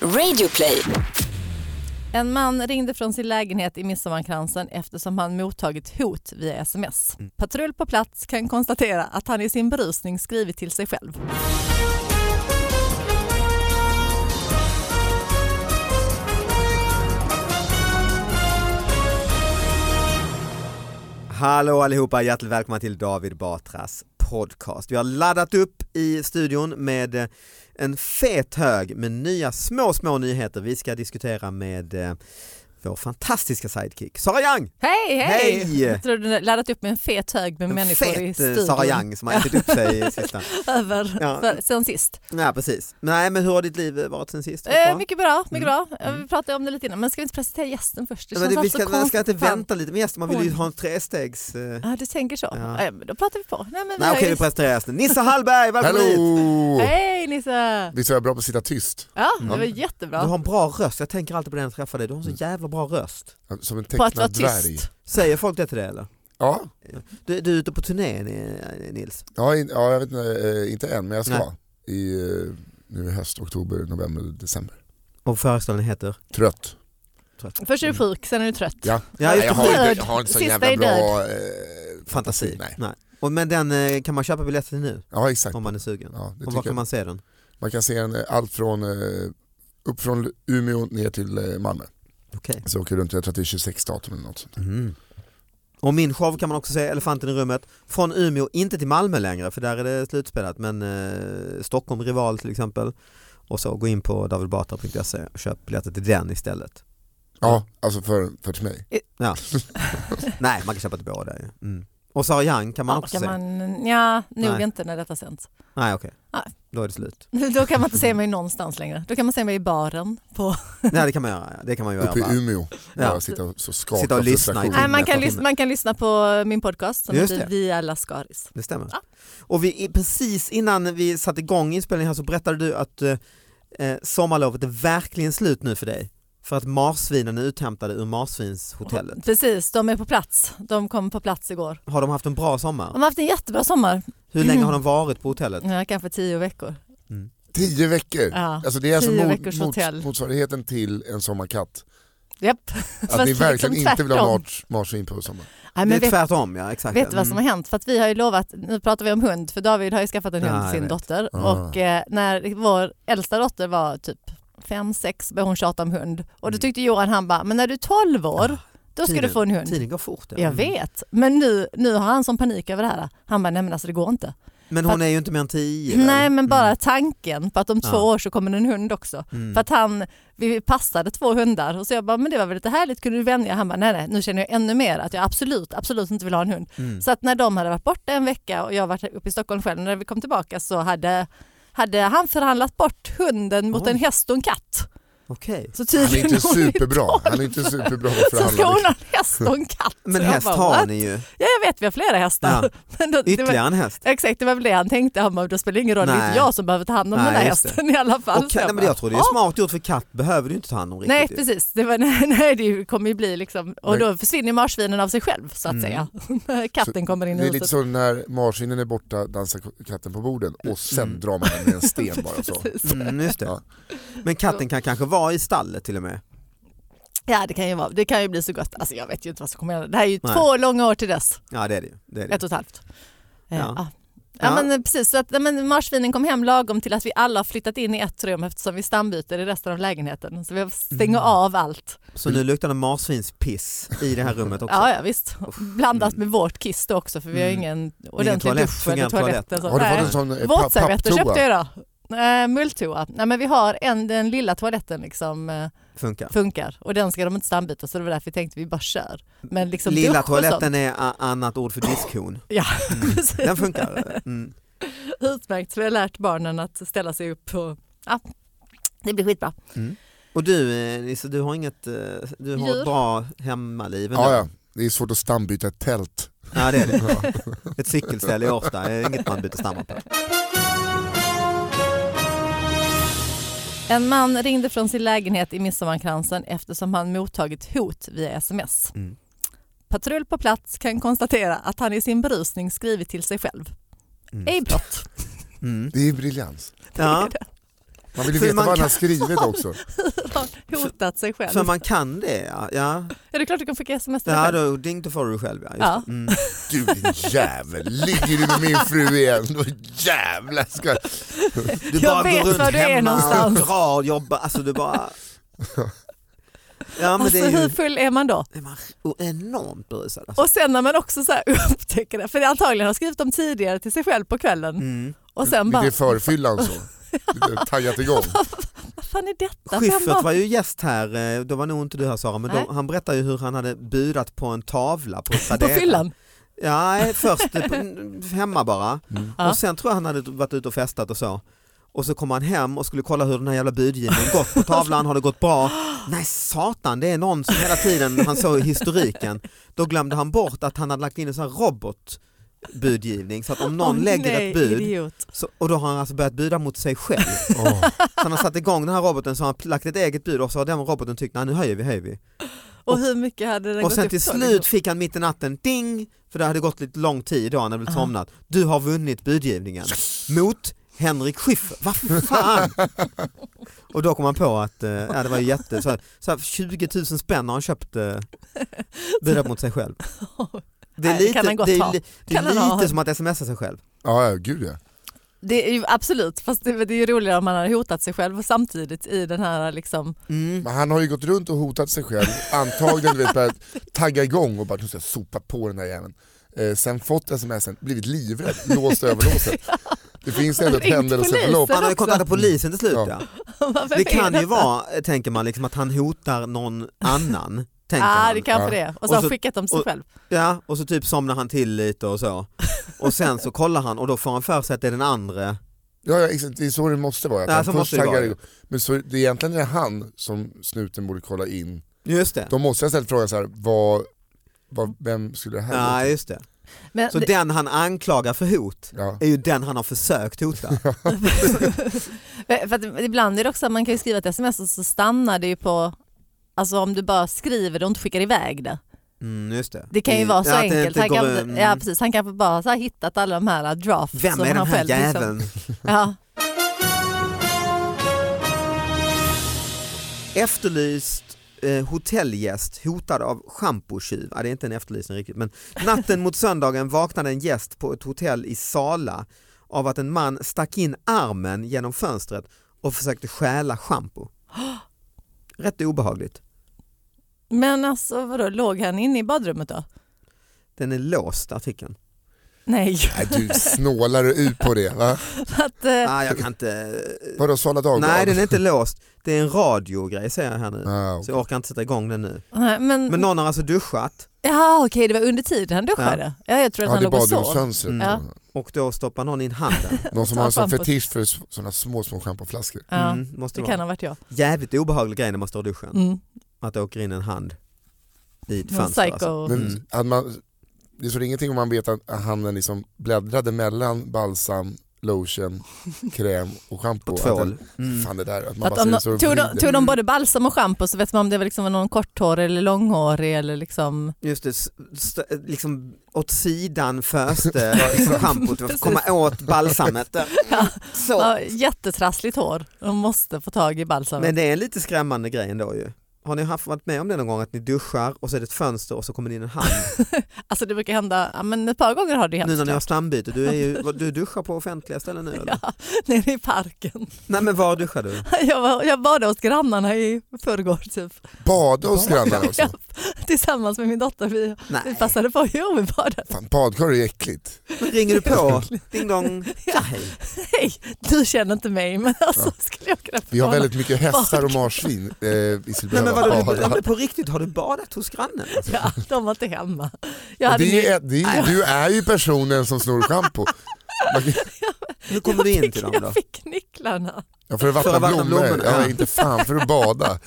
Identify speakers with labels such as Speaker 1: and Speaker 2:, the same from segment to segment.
Speaker 1: Radioplay.
Speaker 2: En man ringde från sin lägenhet i Midsommarkransen eftersom han mottagit hot via sms.
Speaker 3: Mm.
Speaker 2: Patrull på plats kan konstatera att han i sin berusning skrivit till sig själv.
Speaker 3: Hallå allihopa, hjärtligt välkomna till David Batras podcast. Vi har laddat upp i studion med eh, en fet hög med nya små, små nyheter. Vi ska diskutera med eh, vår fantastiska sidekick Sara Young!
Speaker 2: Hej, hej!
Speaker 3: Hej!
Speaker 2: Jag tror du laddat upp med en fet hög med
Speaker 3: En
Speaker 2: människor i
Speaker 3: fet eh,
Speaker 2: studion.
Speaker 3: Sara Young som har ätit upp sig i sista.
Speaker 2: Över,
Speaker 3: Ja.
Speaker 2: för, sen sist.
Speaker 3: Ja, precis. Nej, men hur har ditt liv varit sen sist?
Speaker 2: Eh,
Speaker 3: Bra?
Speaker 2: mycket bra, mycket
Speaker 3: Mm.
Speaker 2: bra. Eh, Vi pratade om det lite innan, men ska vi inte presentera gästen först? Det
Speaker 3: Men det,
Speaker 2: känns
Speaker 3: vi
Speaker 2: alltid
Speaker 3: ska, man ska inte
Speaker 2: konstigt. Fan.
Speaker 3: vänta lite med gäster, man vill ju
Speaker 2: Oj.
Speaker 3: ha en trestegs... eh,
Speaker 2: Ja, du tänker så.
Speaker 3: Ja.
Speaker 2: Ja. men då pratar vi på. Nej, men vi
Speaker 3: Nej
Speaker 2: har
Speaker 3: okej,
Speaker 2: ju-
Speaker 3: vi presenterar gästen. Nisse Hallberg,
Speaker 4: Alltså,
Speaker 3: välkommen hit!
Speaker 4: Hello!
Speaker 2: Hej Nisse!
Speaker 4: Visst är jag bra på att sitta tyst?
Speaker 2: Ja, det
Speaker 4: Ja.
Speaker 2: var
Speaker 3: Mm. Du
Speaker 2: jättebra.
Speaker 3: har en bra röst, jag tänker alltid på det när jag träffar dig. Du har en så
Speaker 2: Mm.
Speaker 3: jävla bra röst.
Speaker 4: Som en
Speaker 2: På att vara
Speaker 4: tecknad dvärg.
Speaker 2: tyst.
Speaker 3: Säger folk det till dig eller?
Speaker 4: Ja,
Speaker 3: Du, du är ute på turné Ni- Nils.
Speaker 4: ja, in, ja, jag vet inte, eh, inte än men jag ska.
Speaker 3: Nej.
Speaker 4: I, eh, nu i höst, oktober, november, december.
Speaker 3: Och föreställningen heter?
Speaker 4: Trött.
Speaker 2: Först
Speaker 3: Mm.
Speaker 2: är du sjuk, sen är du trött.
Speaker 4: Ja.
Speaker 3: Ja,
Speaker 4: Nej,
Speaker 3: just
Speaker 4: jag,
Speaker 3: det.
Speaker 4: har inte,
Speaker 2: Död.
Speaker 4: jag har inte så
Speaker 2: Sista
Speaker 4: jävla
Speaker 2: är
Speaker 4: bra...
Speaker 2: död.
Speaker 4: Eh,
Speaker 3: Fantasi. Nej.
Speaker 4: Nej.
Speaker 3: Och, men den eh, kan man köpa biljetter till nu
Speaker 4: ja exakt.
Speaker 3: om man är sugen.
Speaker 4: Ja, det
Speaker 3: och
Speaker 4: tycker
Speaker 3: var
Speaker 4: jag.
Speaker 3: kan
Speaker 4: Man...
Speaker 3: man se den?
Speaker 4: kan se en, eh, allt från eh, upp från Umeå ner till eh, Malmö.
Speaker 3: Okej.
Speaker 4: Så åker jag runt, jag tror att det är 26 datum eller något sånt.
Speaker 3: Och min show kan man också se, Elefanten i rummet, från Umeå, inte till Malmö längre för där är det slutspelat, men eh, Stockholm Rival till exempel. Och så gå in på davidbatra.se och köp biljetter till den istället.
Speaker 4: Ja, alltså för, för till mig.
Speaker 3: Nej, man kan köpa till båda ju. Mm. Och Sara Young kan man
Speaker 2: Ja,
Speaker 3: också
Speaker 2: kan
Speaker 3: se.
Speaker 2: man, ja, nog
Speaker 3: Nej.
Speaker 2: inte när detta sänds.
Speaker 3: Nej okej,
Speaker 2: Nej.
Speaker 3: då är det slut.
Speaker 2: Då kan man inte se mig någonstans längre. Då kan man se mig i baren. På...
Speaker 3: Nej det kan man göra, ja. det kan man ju göra.
Speaker 4: Uppe
Speaker 3: bara.
Speaker 4: i Umeå.
Speaker 3: Ja.
Speaker 4: Ja. Sitta och så skaka
Speaker 3: Sitta och
Speaker 4: av
Speaker 3: lyssna.
Speaker 4: frustration.
Speaker 3: Nej,
Speaker 2: Nej, man,
Speaker 3: nästa
Speaker 2: kan
Speaker 3: timme.
Speaker 2: lyssna, man kan lyssna på min podcast som
Speaker 3: Just
Speaker 2: heter
Speaker 3: det.
Speaker 2: Via Lascaris.
Speaker 3: Det stämmer.
Speaker 2: Ja.
Speaker 3: Och vi, precis innan vi satte igång inspelningen här så berättade du att eh, eh, sommarlovet är verkligen slut nu för dig. För att marsvinen är uthämtade ur marsvinshotellet.
Speaker 2: Precis, de är på plats. De kom på plats igår.
Speaker 3: Har de haft en bra
Speaker 2: De
Speaker 3: sommar?
Speaker 2: har haft en jättebra sommar.
Speaker 3: Hur länge har de varit på hotellet?
Speaker 2: Ja, kanske tio veckor.
Speaker 4: Tio veckor.
Speaker 2: Ja.
Speaker 4: Alltså det är alltså
Speaker 2: Tio
Speaker 4: mot,
Speaker 2: veckors hotell.
Speaker 4: mot, motsvarigheten till en sommarkatt.
Speaker 2: Japp.
Speaker 4: Att ni verkligen inte vill ha
Speaker 2: tvärtom.
Speaker 4: mars, marsvin på sommaren.
Speaker 2: Nej,
Speaker 3: det
Speaker 2: men
Speaker 3: är
Speaker 2: vet,
Speaker 3: tvärtom ja, exakt.
Speaker 2: vet du vad som har
Speaker 3: Mm.
Speaker 2: hänt? För att vi har ju lovat, nu pratar vi om hund, för David har ju skaffat en hund
Speaker 3: Ja, jag
Speaker 2: till sin
Speaker 3: vet.
Speaker 2: dotter.
Speaker 4: Ah.
Speaker 2: Och eh, när vår äldsta dotter var typ fem, sex började hon tjata om hund. Och
Speaker 3: Mm.
Speaker 2: då tyckte Johan, han bara, men när du är 12 år, då ska du
Speaker 3: tiden-
Speaker 2: få en hund.
Speaker 3: Mm. Tiden går fort. ja. Mm.
Speaker 2: Jag vet, men nu, nu har han sån panik över det här. Han bara, nej men alltså det går inte.
Speaker 3: Men hon är ju inte mer än tio. väl?
Speaker 2: Nej men bara tanken på att om två
Speaker 3: Mm. Ja.
Speaker 2: år så kommer det en hund också.
Speaker 3: Mm.
Speaker 2: För att han, vi passade två hundar och så jag bara, men det var väl lite härligt, kunde du vänja? Han bara, nej nej, nu känner jag ännu mer att jag absolut, absolut inte vill ha en hund.
Speaker 3: Mm.
Speaker 2: Så att när de hade varit borta en vecka och jag varit uppe i Stockholm själv, när vi kom tillbaka så hade hade han förhandlat bort hunden mot
Speaker 3: Oj.
Speaker 2: en häst och en katt.
Speaker 3: Okej.
Speaker 2: Så
Speaker 4: Han är
Speaker 2: tydligen
Speaker 4: inte
Speaker 2: hon är
Speaker 4: superbra. Han är inte superbra liksom. på att
Speaker 2: Så ska
Speaker 4: förhandla.
Speaker 2: hon
Speaker 4: mycket.
Speaker 2: ha en häst och en katt.
Speaker 3: liksom. Men
Speaker 2: Så jag
Speaker 3: häst
Speaker 2: bara,
Speaker 3: har
Speaker 2: "What?"
Speaker 3: ni ju.
Speaker 2: Ja jag vet, vi har flera hästar.
Speaker 3: Ja.
Speaker 2: Men då, det var-
Speaker 3: Ytterligare en häst.
Speaker 2: Exakt, det var väl det han tänkte. Han bara, då spelar det ingen roll, det är
Speaker 3: Nej.
Speaker 2: inte jag som behöver ta hand om
Speaker 3: Nej,
Speaker 2: den här
Speaker 3: just det.
Speaker 2: hästen i alla fall.
Speaker 3: Och,
Speaker 2: Så
Speaker 3: nej, men jag
Speaker 2: bara,
Speaker 3: tror det är
Speaker 2: "Ja."
Speaker 3: smart gjort för katt behöver du inte ta hand om
Speaker 2: Nej
Speaker 3: riktigt. ju.
Speaker 2: precis, det, var, nej, nej, det kommer ju bli liksom, och
Speaker 4: Men-
Speaker 2: då försvinner marsvinen av sig själv så att
Speaker 3: Mm.
Speaker 2: säga. När Katten
Speaker 4: Så
Speaker 2: kommer in i
Speaker 4: Det är lite
Speaker 2: huset.
Speaker 4: så när marsvinen är borta dansar k- katten på borden och sen
Speaker 3: Mm.
Speaker 4: drar man den med en sten bara så.
Speaker 2: Precis.
Speaker 3: Mm, just det.
Speaker 4: Ja.
Speaker 3: Men katten kan kanske vara i stallet till och med.
Speaker 2: Ja det kan ju vara, det kan ju bli så gott. Alltså jag vet ju inte vad som kommer hända. Det här är ju
Speaker 3: Nej.
Speaker 2: två långa år till dess,
Speaker 3: Ja det är det ju. Det är det. ju.
Speaker 2: ett och ett halvt. Eh,
Speaker 3: Ja.
Speaker 2: Ja.
Speaker 3: Ja.
Speaker 2: Ja, men eh, precis, så att, nej, men marsvinen kom hem lagom till att vi alla har flyttat in i ett rum eftersom vi stambyter i resten av lägenheten. Så vi
Speaker 3: Mm.
Speaker 2: stänger av allt.
Speaker 3: Så nu luktar det marsvinspiss i det här rummet också.
Speaker 2: Ja, ja visst. Blandat med vårt kiss då också för vi har
Speaker 3: Mm.
Speaker 2: ingen ordentlig
Speaker 3: toalett,
Speaker 2: dusch
Speaker 3: fungerar
Speaker 2: eller toalett.
Speaker 3: toalett.
Speaker 2: Alltså.
Speaker 4: Har du fått
Speaker 2: Nej.
Speaker 4: en sån eh, pa-
Speaker 2: Våtservetter köpte jag
Speaker 4: papptoa?
Speaker 2: idag. Eh, mulltoa. Nej men vi har en, den lilla toaletten liksom eh,
Speaker 3: Funkar.
Speaker 2: funkar och den ska de inte stambyta så det var därför vi tänkte vi bara kör. Men liksom dusch
Speaker 3: Lilla
Speaker 2: och sånt,
Speaker 3: toaletten är a- annat ord för diskhon.
Speaker 2: precis.
Speaker 3: Den funkar. Mm.
Speaker 2: Utmärkt, så vi har lärt barnen att ställa sig upp och ja, det blir skitbra.
Speaker 3: Mm. Och du eh, Nisse, du har inget, eh, du har
Speaker 2: Djur.
Speaker 3: ett bra hemmaliv ändå.
Speaker 4: Ja, ja. Det är svårt att stambyta ett tält.
Speaker 3: ja det är det. Ett cykelställe i Årsta, det är inget man byter stammar på.
Speaker 2: En man ringde från sin lägenhet i Midsommarkransen eftersom han mottagit hot via sms.
Speaker 3: Mm.
Speaker 2: Patrull på plats kan konstatera att han i sin berusning skrivit till sig själv.
Speaker 3: Mm.
Speaker 2: Ej blott.
Speaker 3: Mm.
Speaker 4: Det är briljans.
Speaker 3: Ja.
Speaker 4: Man vill ju
Speaker 3: För
Speaker 4: veta
Speaker 3: man
Speaker 4: vad han
Speaker 3: kan-
Speaker 4: har skrivit också.
Speaker 2: har hotat sig själv.
Speaker 3: Så man kan det ja. Ja,
Speaker 2: Är det klart du kan skicka sms till dig
Speaker 3: ja
Speaker 2: själv?
Speaker 3: då, ding, då får du själv ja. Just
Speaker 2: Ja.
Speaker 3: det. Mm.
Speaker 4: Du din jävel, ligger du med min fru igen? Då jävlar ska...
Speaker 3: Du
Speaker 2: Jag
Speaker 3: bara
Speaker 2: vet
Speaker 3: går runt
Speaker 2: var du är
Speaker 3: hemma
Speaker 2: någonstans.
Speaker 3: och drar, jobbar, alltså du bara... Ja men
Speaker 2: Alltså
Speaker 3: det är ju
Speaker 2: hur full är man då?
Speaker 3: är man enormt berusad. Alltså.
Speaker 2: Och sen när man också så här upptäcker det, för det antagligen har skrivit om tidigare till sig själv på kvällen
Speaker 3: Mm.
Speaker 2: och sen bara,
Speaker 4: Det är förfyllan så. Lite taggat igång.
Speaker 2: vad fan är detta? Fem
Speaker 3: Schyffert
Speaker 2: barn?
Speaker 3: var ju gäst här, eh, då var nog inte du här Sara, men
Speaker 2: Nej.
Speaker 3: då, han berättade ju hur han hade budat på en tavla på
Speaker 2: På
Speaker 3: Tradera.
Speaker 2: fyllan?
Speaker 3: Ja, eh, först eh, på- hemma bara.
Speaker 4: Mm.
Speaker 2: Ja.
Speaker 3: Och sen tror jag han hade varit ute och festat och så. Och så kom han hem och skulle kolla hur den här jävla budgivningen gått på tavlan, har det gått bra? Nej satan, det är någon som hela tiden, han såg historiken, då glömde han bort att han hade lagt in en sån här robotbudgivning så att om någon
Speaker 2: Åh,
Speaker 3: lägger
Speaker 2: nej,
Speaker 3: ett bud
Speaker 2: Idiot.
Speaker 3: så, och då har han alltså börjat buda mot sig själv.
Speaker 4: Åh,
Speaker 3: Så han har satt igång den här roboten så har han lagt ett eget bud och så har den roboten tyckt nej nu höjer vi, höjer vi.
Speaker 2: Och hur mycket hade den
Speaker 3: och
Speaker 2: gått
Speaker 3: sen
Speaker 2: upp
Speaker 3: till
Speaker 2: då,
Speaker 3: slut
Speaker 2: liksom?
Speaker 3: fick han mitt i natten ding, för det hade gått lite lång tid då han hade blivit
Speaker 2: Aha.
Speaker 3: somnat. Du har vunnit budgivningen mot Henrik Schyffert. Vad fan! och då kom han på att eh, ja, det var ju jätte, så här, så här 20 000 spänn har han köpt eh, budat mot sig själv. Det är
Speaker 2: Nej, det
Speaker 3: lite,
Speaker 2: kan han gott
Speaker 3: det är,
Speaker 2: ha.
Speaker 3: li- det är
Speaker 2: Kan han ha.
Speaker 3: lite som att smsa sig själv.
Speaker 4: Ja, ja, gud ja.
Speaker 2: Det är ju absolut, fast det, det är ju roligare om man har hotat sig själv samtidigt i den här liksom,
Speaker 3: Mm.
Speaker 4: Men han har ju gått runt och hotat sig själv, antagligen du vet, börjat tagga igång och bara nu ska jag sopa på den här jäveln. Eh, sen fått smsen, blivit livrädd, låst över låset. Det finns ändå ett
Speaker 2: Ringt
Speaker 4: händelseförlopp.
Speaker 2: polisen.
Speaker 3: Han har ju
Speaker 2: också.
Speaker 3: kontaktat polisen till slut
Speaker 4: Ja.
Speaker 3: ja.
Speaker 2: Vem
Speaker 3: Det
Speaker 2: är
Speaker 3: kan ju
Speaker 2: detta?
Speaker 3: vara, eh, tänker man, liksom, att han hotar någon annan. tänker
Speaker 2: Ja, ah,
Speaker 3: man.
Speaker 2: det kanske
Speaker 4: Ja.
Speaker 2: det är. Och så
Speaker 3: Och
Speaker 2: har
Speaker 3: så-
Speaker 2: han skickat dem sig
Speaker 3: och-
Speaker 2: själv.
Speaker 3: Ja, och så typ somnar han till lite och så. Och sen så kollar han och då får han för sig att det är den andra.
Speaker 4: Ja, ja, exakt. det är så det måste vara. Att
Speaker 3: Ja,
Speaker 4: han
Speaker 3: så
Speaker 4: först
Speaker 3: måste det vara,
Speaker 4: taggar
Speaker 3: ja.
Speaker 4: igång. Men så, det är egentligen är han som snuten borde kolla in.
Speaker 3: Just det.
Speaker 4: De måste ha ställt frågan så här, vad, vad, vem skulle det här gå
Speaker 3: Ja,
Speaker 4: till?
Speaker 3: just det.
Speaker 2: Men
Speaker 3: Så
Speaker 2: det-
Speaker 3: den han anklagar för hot
Speaker 4: Ja.
Speaker 3: är ju den han har försökt hota.
Speaker 2: För att ibland är det också att man kan ju skriva ett sms och så stannar det ju på Alltså om du bara skriver det och inte skickar iväg det.
Speaker 3: Mm, just det.
Speaker 2: Det kan ju
Speaker 3: I-
Speaker 2: vara så
Speaker 3: ja, att det
Speaker 2: enkelt.
Speaker 3: inte
Speaker 2: Han
Speaker 3: går,
Speaker 2: kan,
Speaker 3: mm,
Speaker 2: ja, precis, han kanske bara så här hittat alla de här drafts.
Speaker 3: Vem
Speaker 2: som
Speaker 3: är den
Speaker 2: han
Speaker 3: här
Speaker 2: själv liksom-
Speaker 3: jäveln?
Speaker 2: Ja.
Speaker 3: Efterlyst eh, hotellgäst hotad av schampotjuv. Ja, det är inte en efterlysning riktigt men natten mot söndagen vaknade en gäst på ett hotell i Sala av att en man stack in armen genom fönstret och försökte stjäla schampo. Rätt obehagligt.
Speaker 2: Men alltså vadå, låg han inne i badrummet då?
Speaker 3: Den är låst artikeln.
Speaker 2: Nej,
Speaker 4: Nej, du snålar ut på det va?
Speaker 2: att, eh,
Speaker 3: Ah, jag kan inte...
Speaker 4: Vadå Sala Dagblad?
Speaker 3: Nej den är inte låst. Det är en radiogrej säger jag här nu.
Speaker 4: Ah,
Speaker 3: Så jag orkar inte sätta igång den nu.
Speaker 2: nej, men,
Speaker 3: Men någon har alltså duschat
Speaker 2: ja okej det var under tiden han duschade. Ja. jag tror att
Speaker 4: Ja,
Speaker 2: han
Speaker 4: det är
Speaker 2: låg och sov.
Speaker 4: badrumsfönstret.
Speaker 3: Mm.
Speaker 2: Ja.
Speaker 3: och då stoppar någon in handen.
Speaker 4: Någon som har en sån
Speaker 2: Schampot.
Speaker 4: fetisch för sådana små, små schampoflaskor.
Speaker 2: Ja,
Speaker 3: Mm, måste
Speaker 2: det
Speaker 3: vara.
Speaker 2: kan ha varit jag.
Speaker 3: Jävligt obehaglig grej när man står i duschen.
Speaker 2: Mm.
Speaker 3: Att det åker in en hand i ett
Speaker 2: Någon
Speaker 3: fönster.
Speaker 2: Psycho.
Speaker 3: Alltså.
Speaker 4: Men
Speaker 3: Mm.
Speaker 4: hade man, det står ingenting om man vet att handen liksom bläddrade mellan balsam, lotion, kräm och schampo.
Speaker 3: Och
Speaker 4: Att
Speaker 3: tvål.
Speaker 4: den-
Speaker 3: Mm.
Speaker 4: Fan det där, att man
Speaker 2: Att
Speaker 4: bara
Speaker 2: om
Speaker 4: ser
Speaker 2: de,
Speaker 4: så och
Speaker 2: tog, de,
Speaker 4: vrider.
Speaker 2: tog de både balsam och schampo så vet man om det var liksom någon korthårig eller långhårig eller liksom...
Speaker 3: Just det, s- st- liksom åt sidan föste liksom schampot, för att
Speaker 2: Precis.
Speaker 3: komma åt balsamet.
Speaker 2: Ja.
Speaker 3: Så.
Speaker 2: Ja, jättetrassligt hår. De måste få tag i balsamet.
Speaker 3: Men det är en lite skrämmande grej ändå ju. Har ni haft, varit med om det någon gång att ni duschar och så är det ett fönster och så kommer det in en hand?
Speaker 2: Alltså det brukar hända, ja, men ett par gånger har det hänt.
Speaker 3: Nu när ni har
Speaker 2: såklart.
Speaker 3: stambyte, du, är ju, vad- du duschar på offentliga ställen nu eller?
Speaker 2: Ja, nere i parken.
Speaker 3: Nej men var duschar du?
Speaker 2: Jag, var, jag badade hos grannarna i förrgår typ.
Speaker 4: Bada hos grannarna också.
Speaker 2: Ja, tillsammans med min dotter. Vi, vi
Speaker 3: Nej,
Speaker 2: passade på, jo vi badade.
Speaker 4: Fan, badkar är äckligt.
Speaker 3: men ringer du på? Ding dong. Ja,
Speaker 2: Ja.
Speaker 3: hej.
Speaker 2: Hej, du känner inte mig men alltså
Speaker 4: Ja.
Speaker 2: skulle jag kunna
Speaker 4: Vi har
Speaker 2: förvåna-
Speaker 4: väldigt mycket hästar och marsvin eh, i
Speaker 3: Nej, men
Speaker 4: Silverhöga
Speaker 3: vadå, du, ja,
Speaker 4: badar.
Speaker 3: men på riktigt, har du badat hos grannen? Alltså?
Speaker 2: Ja, de var inte hemma. Jag
Speaker 4: Och
Speaker 2: hade min-
Speaker 4: Det är, det är, du är ju personen som snor schampo. Man-
Speaker 3: Hur kommer du in
Speaker 2: fick,
Speaker 3: till dem då?
Speaker 2: jag fick nycklarna.
Speaker 4: Ja, för att
Speaker 3: För
Speaker 4: vattna
Speaker 3: att vattna
Speaker 4: blommor.
Speaker 3: blommorna, ja.
Speaker 4: Ja, inte fan för att bada.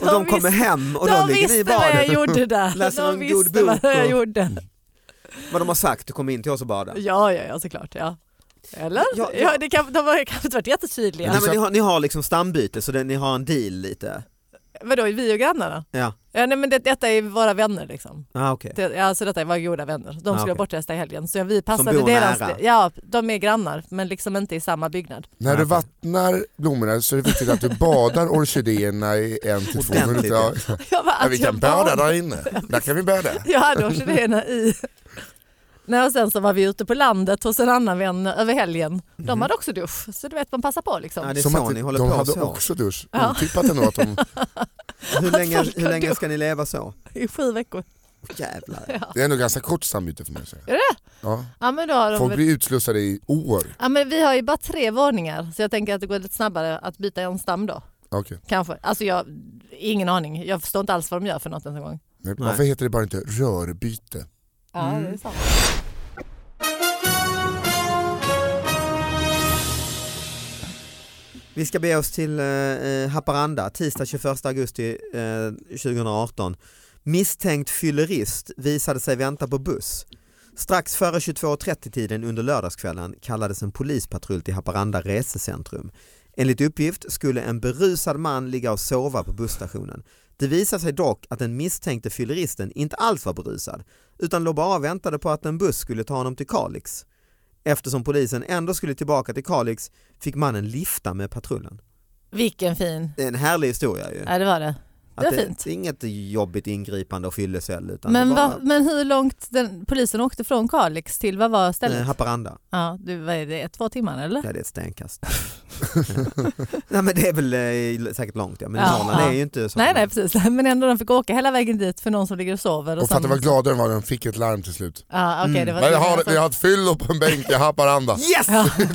Speaker 3: Och de kommer hem och då
Speaker 2: de
Speaker 3: ligger
Speaker 2: visste
Speaker 3: ni i
Speaker 2: vad jag
Speaker 3: badet.
Speaker 2: gjorde där.
Speaker 3: Läser
Speaker 2: de
Speaker 3: någon god
Speaker 2: visste vad
Speaker 3: bok och- Mm.
Speaker 2: jag gjorde.
Speaker 3: Vad de har sagt, du kommer in till oss och bada.
Speaker 2: Ja, ja, ja såklart. Ja. Eller?
Speaker 3: Ja,
Speaker 2: Ja,
Speaker 3: ja.
Speaker 2: det kan, de har kanske inte varit jättetydliga.
Speaker 3: Nej, men ni, har, ni har liksom stambyte så det, ni har en deal lite.
Speaker 2: Vadå, vi och grannarna?
Speaker 3: Ja,
Speaker 2: Ja, nej, men det, detta är våra vänner liksom.
Speaker 3: ah, okej.
Speaker 2: Det, ja, alltså detta var goda vänner. De
Speaker 3: Ah,
Speaker 2: skulle
Speaker 3: okej.
Speaker 2: okay. bortresta i helgen. Så vi passade
Speaker 3: bor
Speaker 2: deras...
Speaker 3: nära.
Speaker 2: Ja, de är grannar men liksom inte i samma byggnad.
Speaker 4: När du vattnar blommorna så är det viktigt att du badar orkidéerna i en till två
Speaker 3: Ordentligt,
Speaker 4: minuter. Ja.
Speaker 2: Jag bara,
Speaker 4: Ja, vi
Speaker 2: att jag
Speaker 4: kan
Speaker 2: bad-
Speaker 4: bada där inne. Där kan vi bada.
Speaker 2: Jag hade orkidéerna i. Nej, och sen så var vi ute på landet hos en annan vän över helgen.
Speaker 3: Mm.
Speaker 2: De hade också dusch, så du vet man passar på liksom.
Speaker 3: Ja, det är
Speaker 4: Som
Speaker 3: så
Speaker 4: att
Speaker 3: ni håller
Speaker 4: de
Speaker 3: på
Speaker 4: hade
Speaker 3: så.
Speaker 4: också dusch.
Speaker 2: Ja.
Speaker 4: Otippat ändå att de...
Speaker 3: Hur länge,
Speaker 2: folk
Speaker 3: hur
Speaker 2: har
Speaker 3: länge
Speaker 2: dusch.
Speaker 3: ska ni leva så?
Speaker 2: I sju veckor.
Speaker 3: Jävlar.
Speaker 4: Det är ändå ganska kort sambyte för mig. Så.
Speaker 2: Är det?
Speaker 4: Ja.
Speaker 2: Ja men då har de
Speaker 4: Folk
Speaker 2: väl-
Speaker 4: blir utslussade i år.
Speaker 2: Ja, men vi har ju bara tre våningar så jag tänker att det går lite snabbare att byta en stam då.
Speaker 4: Okej.
Speaker 2: Kanske. Alltså jag, ingen aning. Jag förstår inte alls vad de gör för något ens en gång.
Speaker 4: Nej. Varför heter det bara inte rörbyte?
Speaker 2: Ja, det är sant.
Speaker 3: Vi ska bege oss till eh, eh, Haparanda tisdag 21 augusti eh, 2018. Misstänkt fyllerist visade sig vänta på buss. Strax före 22.30 tiden under lördagskvällen kallades en polispatrull till Haparanda resecentrum. Enligt uppgift skulle en berusad man ligga och sova på busstationen. Det visade sig dock att den misstänkte fylleristen inte alls var berusad utan låg bara och väntade på att en buss skulle ta honom till Kalix. Eftersom polisen ändå skulle tillbaka till Kalix fick mannen lifta med patrullen.
Speaker 2: Vilken fin.
Speaker 3: Det är en härlig historia ju.
Speaker 2: Ja det var det.
Speaker 3: Att
Speaker 2: det är fint.
Speaker 3: Det är inget jobbigt ingripande och fyllecell utan
Speaker 2: Men,
Speaker 3: det
Speaker 2: va,
Speaker 3: bara,
Speaker 2: men hur långt den, polisen åkte från Kalix till vad var stället?
Speaker 3: eh, Haparanda.
Speaker 2: Ja, det, vad är det, ett, två timmar eller?
Speaker 3: Ja, det är ett stenkast. nej men det är väl eh, säkert långt ja. Men
Speaker 2: Ja,
Speaker 3: Norrland
Speaker 2: ja.
Speaker 3: är ju inte så.
Speaker 2: Nej, nej precis. Men ändå de fick åka hela vägen dit för någon som ligger och sover. Och
Speaker 4: Och fatta
Speaker 2: sen-
Speaker 4: vad glada de var när de fick ett larm till slut.
Speaker 2: Ja, okej, det var
Speaker 4: Men jag har, vi har ett fyllo på en bänk i Haparanda.
Speaker 3: Yes!
Speaker 2: Ja.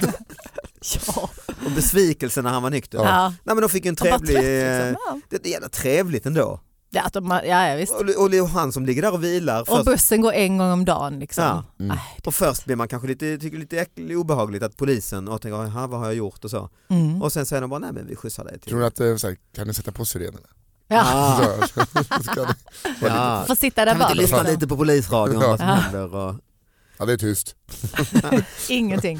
Speaker 2: ja.
Speaker 3: Och besvikelsen när han var nykter.
Speaker 2: ja.
Speaker 3: Nej men de fick ju en
Speaker 2: De var
Speaker 3: trevlig,
Speaker 2: trött,
Speaker 3: eh,
Speaker 2: liksom. Ja.
Speaker 3: det är jävla trevligt ändå.
Speaker 2: Ja, att de, har- ja, ja, visst.
Speaker 3: Och, och det är han som ligger där och vilar.
Speaker 2: Och
Speaker 3: Först,
Speaker 2: bussen går en gång om dagen. Liksom.
Speaker 3: Ja.
Speaker 4: Mm.
Speaker 2: Aj,
Speaker 3: och först blir man kanske lite, tycker lite äcklig, obehagligt att polisen och tänker "Jaha, vad har jag gjort och så.
Speaker 2: Mm.
Speaker 3: Och sen säger de bara nej men vi skjutsar dig till.
Speaker 4: Tror ni att, eh, så här, kan ni sätta på sirenerna?
Speaker 2: Ja.
Speaker 3: Ah.
Speaker 4: Så, ska ni-
Speaker 3: Ja.
Speaker 2: Får sitta där
Speaker 3: Kan vi inte
Speaker 2: bak.
Speaker 3: lyssna
Speaker 2: Liksom.
Speaker 3: lite på polisradion vad som
Speaker 2: Ja.
Speaker 3: händer? Och...
Speaker 4: ja, det är tyst.
Speaker 2: Ingenting.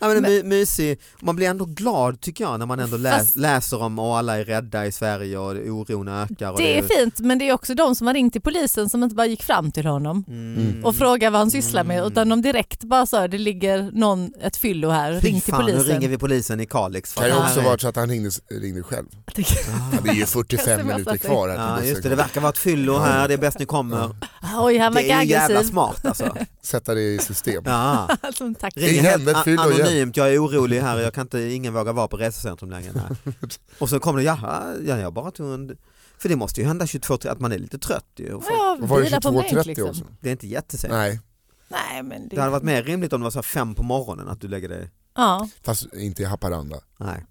Speaker 3: Ja, men en
Speaker 2: Men-
Speaker 3: my, mysig. Man blir ändå glad tycker jag när man ändå läs,
Speaker 2: Fast-
Speaker 3: läser om och alla är rädda i Sverige och oron ökar. Och
Speaker 2: Det är fint men det är också de som har ringt till polisen som inte bara gick fram till honom
Speaker 3: Mm.
Speaker 2: och frågar vad han sysslar med utan de direkt bara sa det ligger någon, ett fyllo här,
Speaker 3: Fy
Speaker 2: ring till
Speaker 3: fan,
Speaker 2: polisen.
Speaker 3: Nu ringer vi polisen i Kalix. för
Speaker 4: Kan ju
Speaker 3: att det
Speaker 4: också
Speaker 3: här är-
Speaker 4: varit så att han ringde, ringde själv. Ja, Det är ju 45 minuter kvar här till
Speaker 3: Ja,
Speaker 4: bussen
Speaker 3: just det, det
Speaker 4: går.
Speaker 3: verkar vara ett fyllo här, det är bäst ni kommer.
Speaker 2: Oj han
Speaker 3: Det
Speaker 2: verkar
Speaker 3: är ju jävla
Speaker 2: aggressiv.
Speaker 3: smart alltså.
Speaker 4: Sätta det i system.
Speaker 3: Ja.
Speaker 2: Alltså, tack.
Speaker 4: Ring
Speaker 3: Ringer
Speaker 4: henne,
Speaker 3: helt
Speaker 4: ett fyllo
Speaker 3: a-
Speaker 4: igen.
Speaker 3: anonymt, jag är orolig här och jag kan inte, ingen vågar vara på resecentrum längre. Nej. Och så kommer det, jaha, ja, jag bara tog en... För det måste ju hända 22.30 att man är lite trött ju. Och folk,
Speaker 2: Ja,
Speaker 4: Och Var det
Speaker 2: vila på en bänk,
Speaker 4: 22.30
Speaker 2: liksom.
Speaker 4: också?
Speaker 3: det är inte jättesent.
Speaker 4: Nej,
Speaker 2: Nej men det...
Speaker 3: Det hade varit mer rimligt om det var så här fem på morgonen att du lägger dig
Speaker 2: Ja.
Speaker 4: fast inte i Haparanda.
Speaker 3: Nej.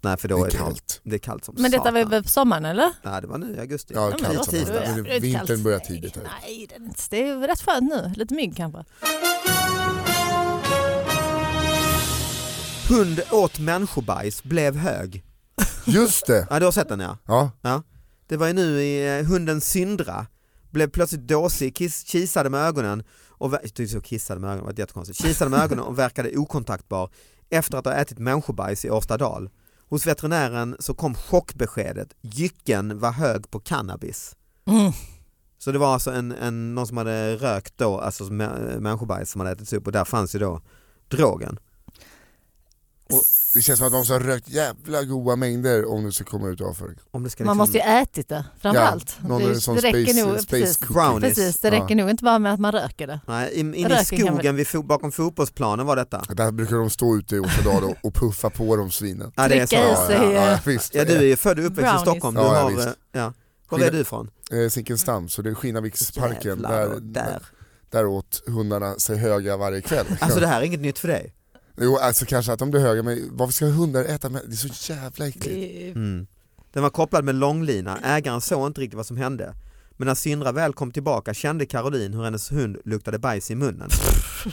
Speaker 3: Nej för
Speaker 4: Det
Speaker 3: då
Speaker 4: är kallt.
Speaker 3: Det är kallt som
Speaker 2: Men detta var ju
Speaker 3: satan.
Speaker 2: på sommaren eller?
Speaker 3: Nej det var nu i augusti.
Speaker 4: Ja,
Speaker 2: men det
Speaker 4: kallt
Speaker 2: var
Speaker 4: som
Speaker 2: tidigt.
Speaker 4: fan.
Speaker 2: Det var
Speaker 4: Vintern
Speaker 2: kallt.
Speaker 4: börjar tidigt här.
Speaker 2: Nej, det är inte- det är rätt skönt nu. Lite mygg kanske.
Speaker 3: Hund åt människobajs, blev hög.
Speaker 4: Just det!
Speaker 3: Ja du har sett den ja.
Speaker 4: Ja,
Speaker 3: Det var ju nu i eh, hunden Syndra. Blev plötsligt dåsig, kiss, kisade med ögonen. Och ver- jag tyckte så kissade med ögonen, det var jättekonstigt. Kisade med ögonen och verkade okontaktbar efter att ha ätit människobajs i Årstadal. Hos veterinären så kom chockbeskedet, jycken var hög på cannabis.
Speaker 2: Mm.
Speaker 3: Så det var alltså en, en, någon som hade rökt då, alltså som- äh, människobajs som hade ätits upp och där fanns ju då drogen.
Speaker 4: det känns som att man måste ha rökt jävla goda mängder om det ska komma ut avföring.
Speaker 3: Om det ska liksom-
Speaker 2: Man måste ju ätit det framförallt.
Speaker 4: liksom någon
Speaker 2: det,
Speaker 4: är sån
Speaker 2: det räcker
Speaker 4: space-
Speaker 2: nog,
Speaker 4: space
Speaker 2: precis,
Speaker 4: cookie.
Speaker 3: brownies.
Speaker 2: precis, det räcker
Speaker 4: Ja.
Speaker 2: nog inte bara med att man röker det.
Speaker 3: Nej, in, in i
Speaker 2: Röken kan
Speaker 3: skogen vid, fo- bakom fotbollsplanen var detta.
Speaker 4: Där brukar de stå ute i Återdal och, och puffa på de svinen.
Speaker 3: Ja, det är så.
Speaker 2: Trycka i
Speaker 3: Ja,
Speaker 4: Ja, ja,
Speaker 2: sig.
Speaker 3: ja.
Speaker 4: ja, ja, visst.
Speaker 3: ja, du är ju född och uppväxt i
Speaker 2: Brownies.
Speaker 3: Stockholm. Du
Speaker 4: Ja, ja,
Speaker 3: har,
Speaker 4: visst.
Speaker 3: eh, ja. Var är du ifrån?
Speaker 4: Eh, Zinkensdamm, så det är Skinnarviksparken.
Speaker 3: Jävlar,
Speaker 4: Där, där.
Speaker 3: där.
Speaker 4: åt hundarna sig höga varje kväll.
Speaker 3: Alltså det här är inget nytt för dig.
Speaker 4: Jo, alltså kanske att de blir höga, men varför ska hundar äta? män- Det är så jävla äckligt.
Speaker 2: Det-
Speaker 3: Mm. Den var kopplad med långlina, ägaren såg inte riktigt vad som hände. Men när Sindra väl kom tillbaka kände Caroline hur hennes hund luktade bajs i munnen.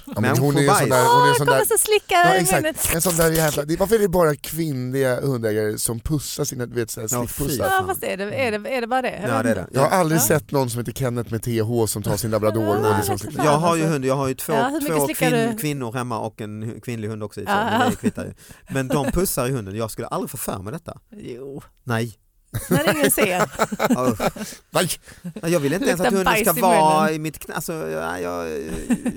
Speaker 4: Ja, men hon är ju en sån där, hon är
Speaker 2: Åh,
Speaker 4: en sån där
Speaker 2: kommer så slicka
Speaker 4: Ja,
Speaker 2: i munnen.
Speaker 4: exakt. En sån där jävla, det- varför är det bara kvinnliga hundägare som pussar sina du vet, så här
Speaker 3: Ja,
Speaker 4: slickpussar?
Speaker 3: fy.
Speaker 2: Ja, fast är det, är, det, är det bara det?
Speaker 3: Ja, det är det.
Speaker 4: Jag har aldrig
Speaker 2: Ja.
Speaker 4: sett någon som heter Kenneth med TH som tar sin labrador och
Speaker 3: Nej.
Speaker 4: liksom
Speaker 2: Fan,
Speaker 3: Jag har ju
Speaker 2: alltså.
Speaker 3: hund, jag har ju två,
Speaker 2: Ja, hur mycket
Speaker 3: två
Speaker 2: slickar
Speaker 3: kvin,
Speaker 2: du?
Speaker 3: kvinnor hemma och en hu- kvinnlig hund också i och
Speaker 2: Ja,
Speaker 3: för sig, men
Speaker 2: ja.
Speaker 3: det kvittar ju. Men de pussar i hunden, jag skulle aldrig få för mig detta.
Speaker 2: Jo,
Speaker 3: Nej,
Speaker 2: När ingen ser.
Speaker 3: Ja, usch.
Speaker 4: Nej,
Speaker 3: Jag vill inte ens
Speaker 2: Luktar
Speaker 3: att hunden
Speaker 2: bajs
Speaker 3: ska
Speaker 2: i
Speaker 3: vara i mitt knä. Alltså, jag, jag,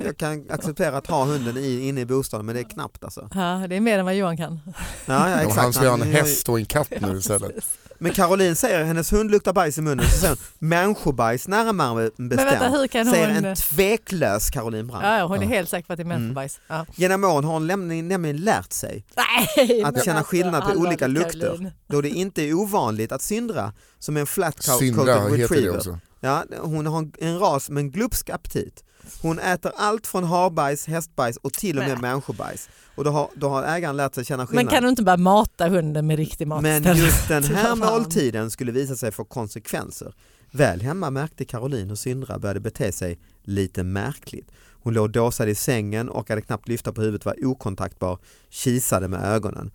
Speaker 3: jag kan acceptera att ha hunden i, inne i bostaden men det är knappt alltså.
Speaker 2: Ja, det är mer än vad Johan kan.
Speaker 3: Ja, ja,
Speaker 4: om
Speaker 3: exakt.
Speaker 4: han ska ju ha
Speaker 3: Han-
Speaker 4: en häst och en katt nu istället.
Speaker 3: Men Caroline säger hennes hund luktar bajs i munnen så säger hon människobajs närmare bestämt.
Speaker 2: Men vänta, hur kan
Speaker 3: Säger
Speaker 2: hon...
Speaker 3: en tveklös Caroline Brandt.
Speaker 2: Ja, ja, hon är
Speaker 4: Ja. Mm.
Speaker 2: helt säker på att det är människobajs. Ja.
Speaker 3: Genom åren har hon lämn- nämligen lärt sig
Speaker 2: Nej,
Speaker 3: Att
Speaker 2: men alltså,
Speaker 3: känna skillnad på
Speaker 2: allvarligt,
Speaker 3: olika lukter.
Speaker 2: Caroline.
Speaker 3: då det inte är ovanligt att Syndra som är en flat co-
Speaker 4: Syndra
Speaker 3: coated
Speaker 4: heter det
Speaker 3: retriever.
Speaker 4: också.
Speaker 3: Ja, hon har en ras med en glupsk aptit. Hon äter allt från harbajs, hästbajs och till och med
Speaker 2: Nej.
Speaker 3: människobajs. Och då har, då har ägaren lärt sig känna
Speaker 2: Men
Speaker 3: skillnad.
Speaker 2: kan du inte bara mata hunden med riktig mat
Speaker 3: Men
Speaker 2: istället?
Speaker 3: just den här
Speaker 2: Fan.
Speaker 3: måltiden skulle visa sig få konsekvenser. Väl hemma märkte Caroline hur Syndra började bete sig lite märkligt. Hon låg dåsad i sängen och hade knappt lyfta på huvudet, var okontaktbar, kisade med ögonen.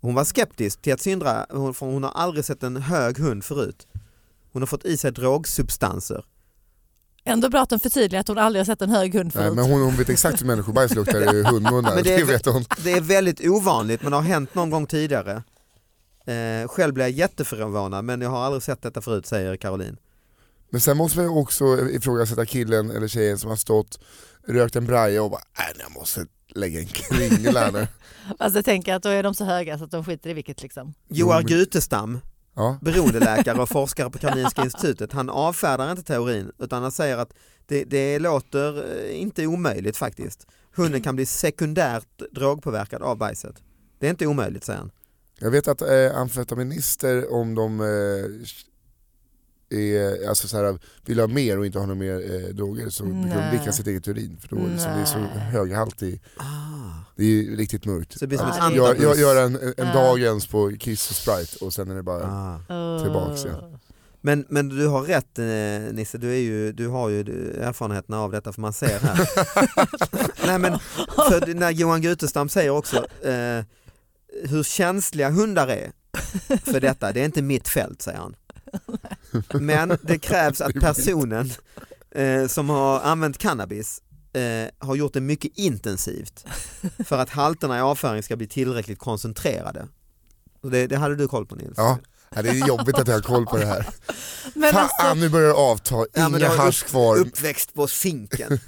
Speaker 3: Hon var skeptisk till att Syndra, hon- för hon har aldrig sett en hög hund förut. Hon har fått i sig drogsubstanser.
Speaker 2: Ändå bra att hon förtydligar att hon aldrig har sett en hög hund
Speaker 4: Nej,
Speaker 2: förut.
Speaker 4: men hon, hon vet exakt hur människobajs luktar i hundmunnar,
Speaker 3: Men det
Speaker 4: det,
Speaker 3: är-
Speaker 4: vet hon.
Speaker 3: Det är väldigt ovanligt men har hänt någon gång tidigare. Eh, själv blev jag jätteförvånad men jag har aldrig sett detta förut säger Caroline.
Speaker 4: Men sen måste vi också ifrågasätta killen eller tjejen som har stått, rökt en braja och bara nej jag måste lägga en kringla här nu.
Speaker 2: Alltså jag tänker att då är de så höga så att de skiter i vilket liksom.
Speaker 3: Joar
Speaker 4: Jo, men-
Speaker 3: Gutestam
Speaker 4: Ja.
Speaker 3: beroendeläkare och forskare på Karolinska institutet, han avfärdar inte teorin utan han säger att det, det låter eh, inte omöjligt faktiskt. Hunden kan bli sekundärt drogpåverkad av bajset. Det är inte omöjligt säger han.
Speaker 4: Jag vet att eh, amfetaminister om de eh, är, alltså så här, vill ha mer och inte ha några mer eh, droger så brukar
Speaker 2: Nej.
Speaker 4: de dricka sitt eget urin för då är det liksom, det är så
Speaker 2: Nej.
Speaker 4: hög halt i, det är ju riktigt mörkt.
Speaker 3: Så det blir som
Speaker 2: Ja,
Speaker 3: ett
Speaker 2: det är-
Speaker 4: Gör,
Speaker 3: antabus.
Speaker 4: gör, gör en, en
Speaker 2: Ja.
Speaker 4: dagens på Kiss och Sprite och sen är det bara
Speaker 3: Ah.
Speaker 4: Tillbaks, ja.
Speaker 3: Men, men du har rätt eh, Nisse, du, är ju, du har ju eh, erfarenheterna av detta för man ser här. Nej, men, för när Johan Gutestam säger också eh, hur känsliga hundar är för detta, det är inte mitt fält säger han. Men det krävs att personen eh, som har använt cannabis eh, har gjort det mycket intensivt för att halterna i avföring ska bli tillräckligt koncentrerade. Och Det, det hade du koll på Nils?
Speaker 4: Ja, ja, det är jobbigt att jag har koll på det här.
Speaker 2: Men
Speaker 4: Fan,
Speaker 2: alltså,
Speaker 4: nu börjar det avta,
Speaker 3: men
Speaker 4: inga
Speaker 3: det var upp-
Speaker 4: hasch kvar.
Speaker 3: Uppväxt på finken.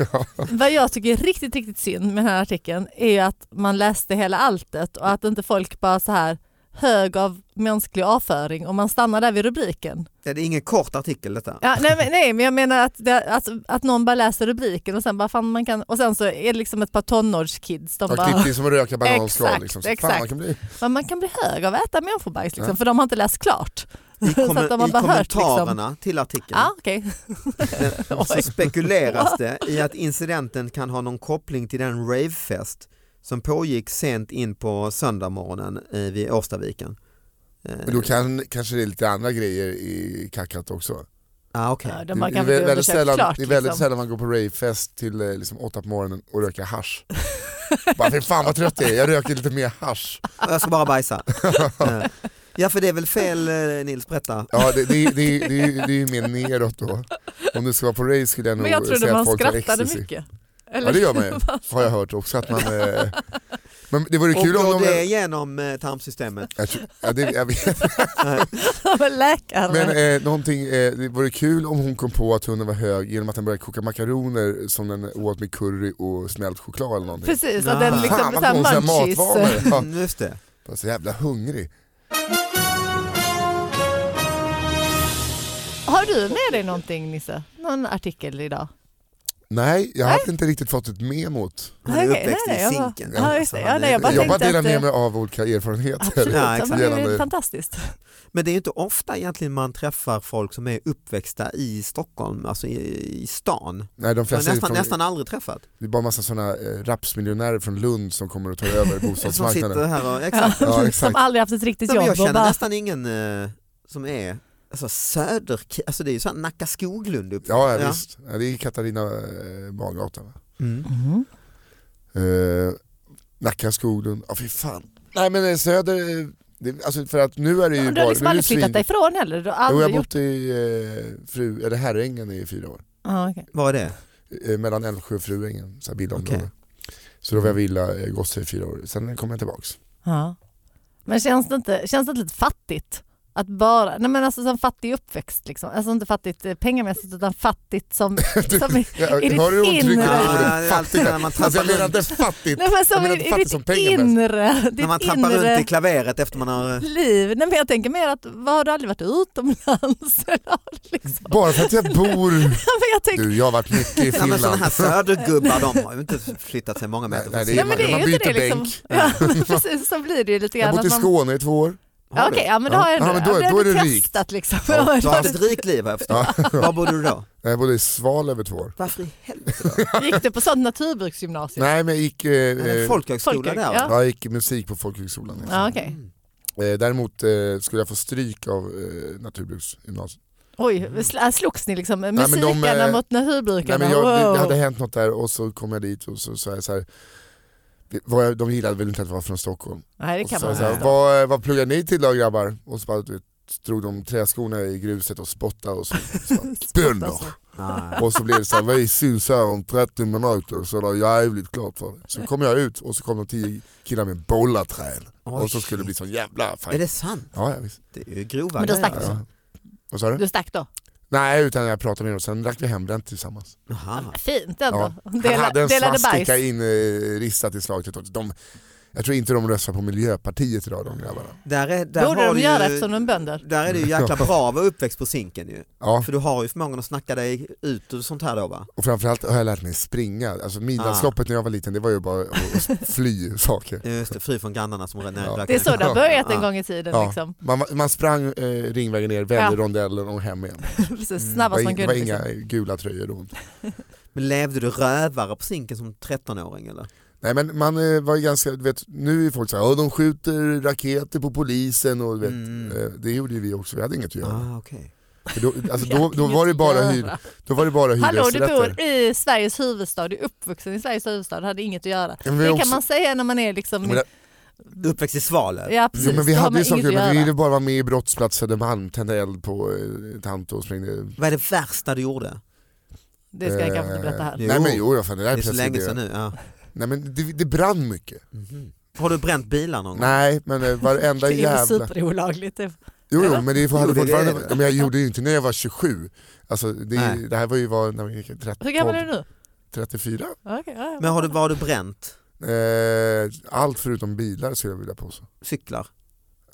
Speaker 2: vad jag tycker är riktigt, riktigt synd med den här artikeln är ju att man läste hela alltet och att inte folk bara så här hög av mänsklig avföring och man stannar där vid rubriken.
Speaker 3: Ja, det är ingen kort artikel detta.
Speaker 2: Ja, nej, men, nej men jag menar att, det, alltså, att någon bara läser rubriken och sen bara fan man kan och sen så är det liksom ett par tonårskids de
Speaker 4: Ja,
Speaker 2: bara
Speaker 4: Klipp det är som att röka bananskal.
Speaker 2: Exakt,
Speaker 4: Liksom.
Speaker 2: exakt.
Speaker 4: Fan, man kan bli...
Speaker 2: men man kan bli hög av att äta människobajs liksom,
Speaker 4: Ja.
Speaker 2: för de har inte läst klart.
Speaker 3: I,
Speaker 2: Så att
Speaker 3: kommer,
Speaker 2: de har
Speaker 3: i
Speaker 2: bara hört, liksom.
Speaker 3: kommentarerna till artikeln
Speaker 2: Ja, okej.
Speaker 3: så spekuleras det i att incidenten kan ha någon koppling till den ravefest som pågick sent in på söndagmorgonen eh, vid Årstaviken. Eh,
Speaker 4: Men då kan, kanske det är lite andra grejer i kackat också.
Speaker 3: ah, okej.
Speaker 2: Ja,
Speaker 4: Det,
Speaker 2: de bara
Speaker 4: det, är
Speaker 2: kanske inte
Speaker 4: väldigt
Speaker 2: undersökt
Speaker 4: sällan,
Speaker 2: klart.
Speaker 4: det är väldigt
Speaker 2: liksom.
Speaker 4: sällan man går på ravefest till eh, liksom, åtta på morgonen och röker hasch. Bara, "Fy fan vad trött jag är, jag röker lite mer hasch.
Speaker 3: Jag ska bara bajsa. Eh, ja för det är väl fel eh, Nils, berätta.
Speaker 4: Ja, det, det, det, det, det, är ju mer neråt då. Om du ska vara på rave skulle jag nog
Speaker 2: Men jag trodde
Speaker 4: säga
Speaker 2: man
Speaker 4: att folk tar
Speaker 2: skrattade
Speaker 4: ecstasy.
Speaker 2: mycket.
Speaker 4: Ja
Speaker 2: Eller?
Speaker 4: det gör man ju, har jag hört också att man... Eh... Men det vore
Speaker 3: Och
Speaker 4: kul
Speaker 3: går
Speaker 4: om
Speaker 3: det
Speaker 4: de...
Speaker 3: genom eh, tarmsystemet?
Speaker 4: Jag, tror- ja, det, jag vet
Speaker 2: men läkare.
Speaker 4: Men eh, någonting, eh, det vore kul om hon kom på att hunden var hög genom att den började koka makaroner som den åt med curry och smält choklad eller någonting.
Speaker 2: Precis, att
Speaker 3: Ah.
Speaker 2: den liksom
Speaker 4: Fan
Speaker 2: så
Speaker 4: vad
Speaker 2: här
Speaker 4: konstiga
Speaker 2: munchies.
Speaker 4: matvanor. Ja,
Speaker 3: Mm, just det.
Speaker 4: jag är så jävla hungrig.
Speaker 2: Har du med dig någonting Nisse? Någon artikel idag?
Speaker 4: Nej, jag hade inte riktigt fått ett memot.
Speaker 3: Han är
Speaker 2: Okej,
Speaker 3: uppväxt
Speaker 2: nej,
Speaker 3: i
Speaker 2: nej, jag bara-
Speaker 3: sinken.
Speaker 2: Ja, just det. Ja,
Speaker 3: Han är-
Speaker 2: nej, jag bara
Speaker 4: Jag bara
Speaker 2: tänkte
Speaker 4: delar
Speaker 2: att, eh,
Speaker 4: med mig av olika erfarenheter.
Speaker 2: Absolut,
Speaker 3: Ja,
Speaker 2: ja,
Speaker 3: exakt.
Speaker 2: men det är
Speaker 4: Gällande-
Speaker 2: fantastiskt.
Speaker 3: Men det är ju inte ofta egentligen man träffar folk som är uppväxta i Stockholm, alltså i, i stan.
Speaker 4: Nej, de
Speaker 3: Jag har
Speaker 4: flesta är
Speaker 3: nästan,
Speaker 4: från,
Speaker 3: nästan aldrig träffat.
Speaker 4: Det är bara massa sådana eh, rapsmiljonärer från Lund som kommer och tar över
Speaker 3: Som sitter
Speaker 4: bostadsmarknaden.
Speaker 3: här och, exakt.
Speaker 4: Ja,
Speaker 2: Som
Speaker 4: exakt.
Speaker 2: aldrig haft ett riktigt
Speaker 3: Nej, men
Speaker 2: jobb
Speaker 3: jag
Speaker 2: och
Speaker 3: känner
Speaker 2: bara
Speaker 3: nästan ingen eh, som är alltså, söder, alltså det är ju såhär Nacka Skoglund uppe.
Speaker 4: Ja, ja, visst. Ja, det är Katarina eh, Barngatan. va?
Speaker 3: Mm.
Speaker 2: Mhm.
Speaker 4: Eh, Nacka, Skoglund, ja fy fan. Nej men eh, Söder, eh, det, alltså för att nu är det ju
Speaker 2: Du har
Speaker 4: bara...
Speaker 2: liksom
Speaker 4: nu är det
Speaker 2: aldrig flyttat dig ifrån heller? Du har
Speaker 4: Jo,
Speaker 2: aldrig
Speaker 4: jag har
Speaker 2: gjort...
Speaker 4: bott i eh, fru, eller Herrängen i fyra år.
Speaker 2: Ja, okej.
Speaker 3: Vad är det?
Speaker 4: Eh, mellan Älvsjö och Fruängen, så här villaområde.
Speaker 3: Okej.
Speaker 4: Så då var jag villa eh, gosse i fyra år, sen kom jag tillbaks.
Speaker 2: Ja. Men känns det, inte, känns det inte lite fattigt? Att bara, nej men alltså som fattig uppväxt liksom. Alltså inte fattigt eh, pengamässigt utan fattigt som, som i,
Speaker 4: Ja,
Speaker 2: i
Speaker 4: Hör du hur
Speaker 2: ditt
Speaker 4: hon trycker på
Speaker 2: inre.
Speaker 3: Ja, det
Speaker 4: ordet
Speaker 3: är alltid
Speaker 4: fattigt?
Speaker 3: när man trampar
Speaker 4: Alltså, jag menar
Speaker 3: runt.
Speaker 4: inte fattigt,
Speaker 2: Nej men
Speaker 4: jag
Speaker 2: som
Speaker 4: menar
Speaker 2: i,
Speaker 4: inte
Speaker 2: i
Speaker 4: fattigt
Speaker 2: ditt
Speaker 4: som pengamässigt.
Speaker 2: inre, ditt
Speaker 3: När man trampar
Speaker 2: inre
Speaker 3: runt i klaveret efter man har...
Speaker 2: liv. Nej men jag tänker mer att, vad har du aldrig varit utomlands? Eller har du liksom,
Speaker 4: Bara för att jag bor...
Speaker 2: Ja, men jag tänker,
Speaker 4: Du, jag har varit mycket i
Speaker 3: Ja, men
Speaker 4: Finland.
Speaker 3: sådana här södergubbar de har ju inte flyttat sig många meter.
Speaker 4: Nej, nej,
Speaker 3: från
Speaker 4: det är
Speaker 2: nej
Speaker 3: sidan.
Speaker 2: men det är ju inte
Speaker 4: man byter
Speaker 2: det liksom.
Speaker 4: bänk.
Speaker 2: Ja, men precis, så blir det ju lite
Speaker 4: Jag
Speaker 2: grann.
Speaker 4: har bott i
Speaker 2: att man-
Speaker 4: Skåne i två år.
Speaker 2: Ja, Okej, ja men då har jag
Speaker 4: Ja,
Speaker 2: ändå,
Speaker 4: men då-
Speaker 2: ja,
Speaker 4: då är
Speaker 2: det
Speaker 4: det rikt.
Speaker 2: testat liksom.
Speaker 3: Ja, Du har haft
Speaker 2: Fast
Speaker 3: ett rikt liv har jag förstått. Var bodde du då?
Speaker 4: Jag bodde i Svalöv i två år.
Speaker 3: Varför i helvete då?
Speaker 2: Gick du på sånt naturbruksgymnasium?
Speaker 4: Nej men jag gick, eh,
Speaker 3: Ja, det är en
Speaker 4: eh,
Speaker 3: folkhögskola
Speaker 2: Folkhög-
Speaker 3: där
Speaker 2: ja.
Speaker 3: va? Mm.
Speaker 4: jag gick musik på folkhögskolan. liksom.
Speaker 2: Ja, okej.
Speaker 4: Eh, däremot eh, skulle jag få stryk av eh, naturbruksgymnasiet.
Speaker 2: Oj, sl- äh, slogs ni liksom
Speaker 4: men de,
Speaker 2: musikerna
Speaker 4: eh,
Speaker 2: mot
Speaker 4: Nej,
Speaker 2: naturbrukarna?
Speaker 4: men jag, det,
Speaker 2: Wow.
Speaker 4: det hade hänt något där och så kom jag dit och så sa jag så här, det var jag, de gillade väl inte att jag var från Stockholm.
Speaker 2: Nej, det
Speaker 4: Och så
Speaker 2: kan
Speaker 4: sa
Speaker 2: man
Speaker 4: jag så här,
Speaker 2: inte.
Speaker 4: vad, vad pluggar ni till då grabbar? Och så bara, du vet, drog de träskorna i gruset och spottade och så, så bara, bönder.
Speaker 3: Nej.
Speaker 4: Och så blev det så här, vi syns här om 30 minuter så det är jävligt klart för dig. Så kom jag ut och så kom de tio killar med bollarträn
Speaker 3: Oj.
Speaker 4: och så skulle det bli sån jävla
Speaker 3: Är
Speaker 4: fight.
Speaker 3: det sant?
Speaker 4: Ja, ja, visst.
Speaker 3: Det är ju grova
Speaker 2: Men då stack
Speaker 3: grejer.
Speaker 2: du.
Speaker 4: Ja. Vad sa du?
Speaker 2: Du stack då?
Speaker 4: Nej, utan jag pratade med dem. Sen drack vi hembränt tillsammans.
Speaker 3: Jaha.
Speaker 2: Fint ändå.
Speaker 4: Han
Speaker 2: Dela,
Speaker 4: hade en
Speaker 2: delade bajs.
Speaker 4: svastika inristat i slaget. De, jag tror inte de röstar på Miljöpartiet idag de grabbarna.
Speaker 3: Där är, där
Speaker 2: Borde
Speaker 3: har
Speaker 2: de
Speaker 3: du
Speaker 2: göra
Speaker 3: ju,
Speaker 2: eftersom de är bönder?
Speaker 3: Där är det ju jäkla bra att vara uppväxt på Zinken ju.
Speaker 4: Ja,
Speaker 3: För du har ju förmågan att snacka dig ut och sånt här då va?
Speaker 4: och framförallt har jag lärt mig springa. Alltså
Speaker 2: Ah.
Speaker 4: midnattsloppet när jag var liten det var ju bara att att fly saker.
Speaker 3: Eh, Just det, fri från grannarna som rör
Speaker 4: Ja.
Speaker 3: ner
Speaker 2: Det är så det har börjat en
Speaker 3: Ja.
Speaker 2: gång i tiden.
Speaker 4: Ja.
Speaker 2: Liksom.
Speaker 4: Man, man sprang eh, ringvägen ner, vände rondellen och hem igen.
Speaker 2: Precis,
Speaker 4: Mm, Det var,
Speaker 2: snabba som
Speaker 4: in, det var
Speaker 2: kunde. Liksom.
Speaker 4: inga gula tröjor då.
Speaker 3: Men levde du rövare på Zinken som 13-åring eller?
Speaker 4: Nej men man eh, var ju ganska, du vet, nu är folk såhär, "Ja, de skjuter raketer på polisen och du vet.
Speaker 3: Mm.
Speaker 4: eh, Det gjorde ju vi också, vi hade inget att göra.
Speaker 3: Ah, okej.
Speaker 4: För då, alltså, då, då var det bara, hyr, då var det bara
Speaker 2: Hallå, du
Speaker 4: hyresrätter.
Speaker 2: bor i Sveriges huvudstad, du är uppvuxen i Sveriges huvudstad, hade inget att göra.
Speaker 4: Men vi
Speaker 2: Det
Speaker 4: också-
Speaker 2: kan man säga när man är liksom...
Speaker 4: Men det-
Speaker 3: Uppväxt i Svalöv?
Speaker 2: ja,
Speaker 4: Jo,
Speaker 2: precis,
Speaker 4: men vi
Speaker 2: då har
Speaker 4: hade
Speaker 2: man
Speaker 4: ju saker,
Speaker 2: inget att
Speaker 4: men vi
Speaker 2: göra.
Speaker 4: ville bara vara med i brottsplats Södermalm, tända eld på eh, tant och sprängde. Eh,
Speaker 3: Vad är det värsta du gjorde?
Speaker 2: Det ska jag kanske inte berätta här.
Speaker 3: Jo.
Speaker 4: Nej men jo, ja, fan, det där
Speaker 3: Det
Speaker 4: är
Speaker 3: är så
Speaker 4: precis
Speaker 3: länge
Speaker 4: det.
Speaker 3: sedan nu. Ja.
Speaker 4: Nej men det, det brann mycket.
Speaker 3: Mhm. Har du bränt bilar någon gång?
Speaker 4: Nej men eh, varenda
Speaker 2: Det är ju
Speaker 4: jävla...
Speaker 2: superolagligt. det-
Speaker 4: Jo, jo
Speaker 2: Eller?
Speaker 4: men det
Speaker 3: Jo,
Speaker 4: hade
Speaker 3: det är det.
Speaker 4: fortfarande... Ja, Men jag gjorde ju inte när jag var 27. Alltså det,
Speaker 3: Nej.
Speaker 4: det här var ju var, när man gick 13,
Speaker 2: Hur gammal är du nu?
Speaker 4: 34.
Speaker 2: Okej, ja, ja.
Speaker 3: Men har du, vad har du bränt?
Speaker 4: Eh, allt förutom bilar skulle jag vilja påstå.
Speaker 3: Cyklar?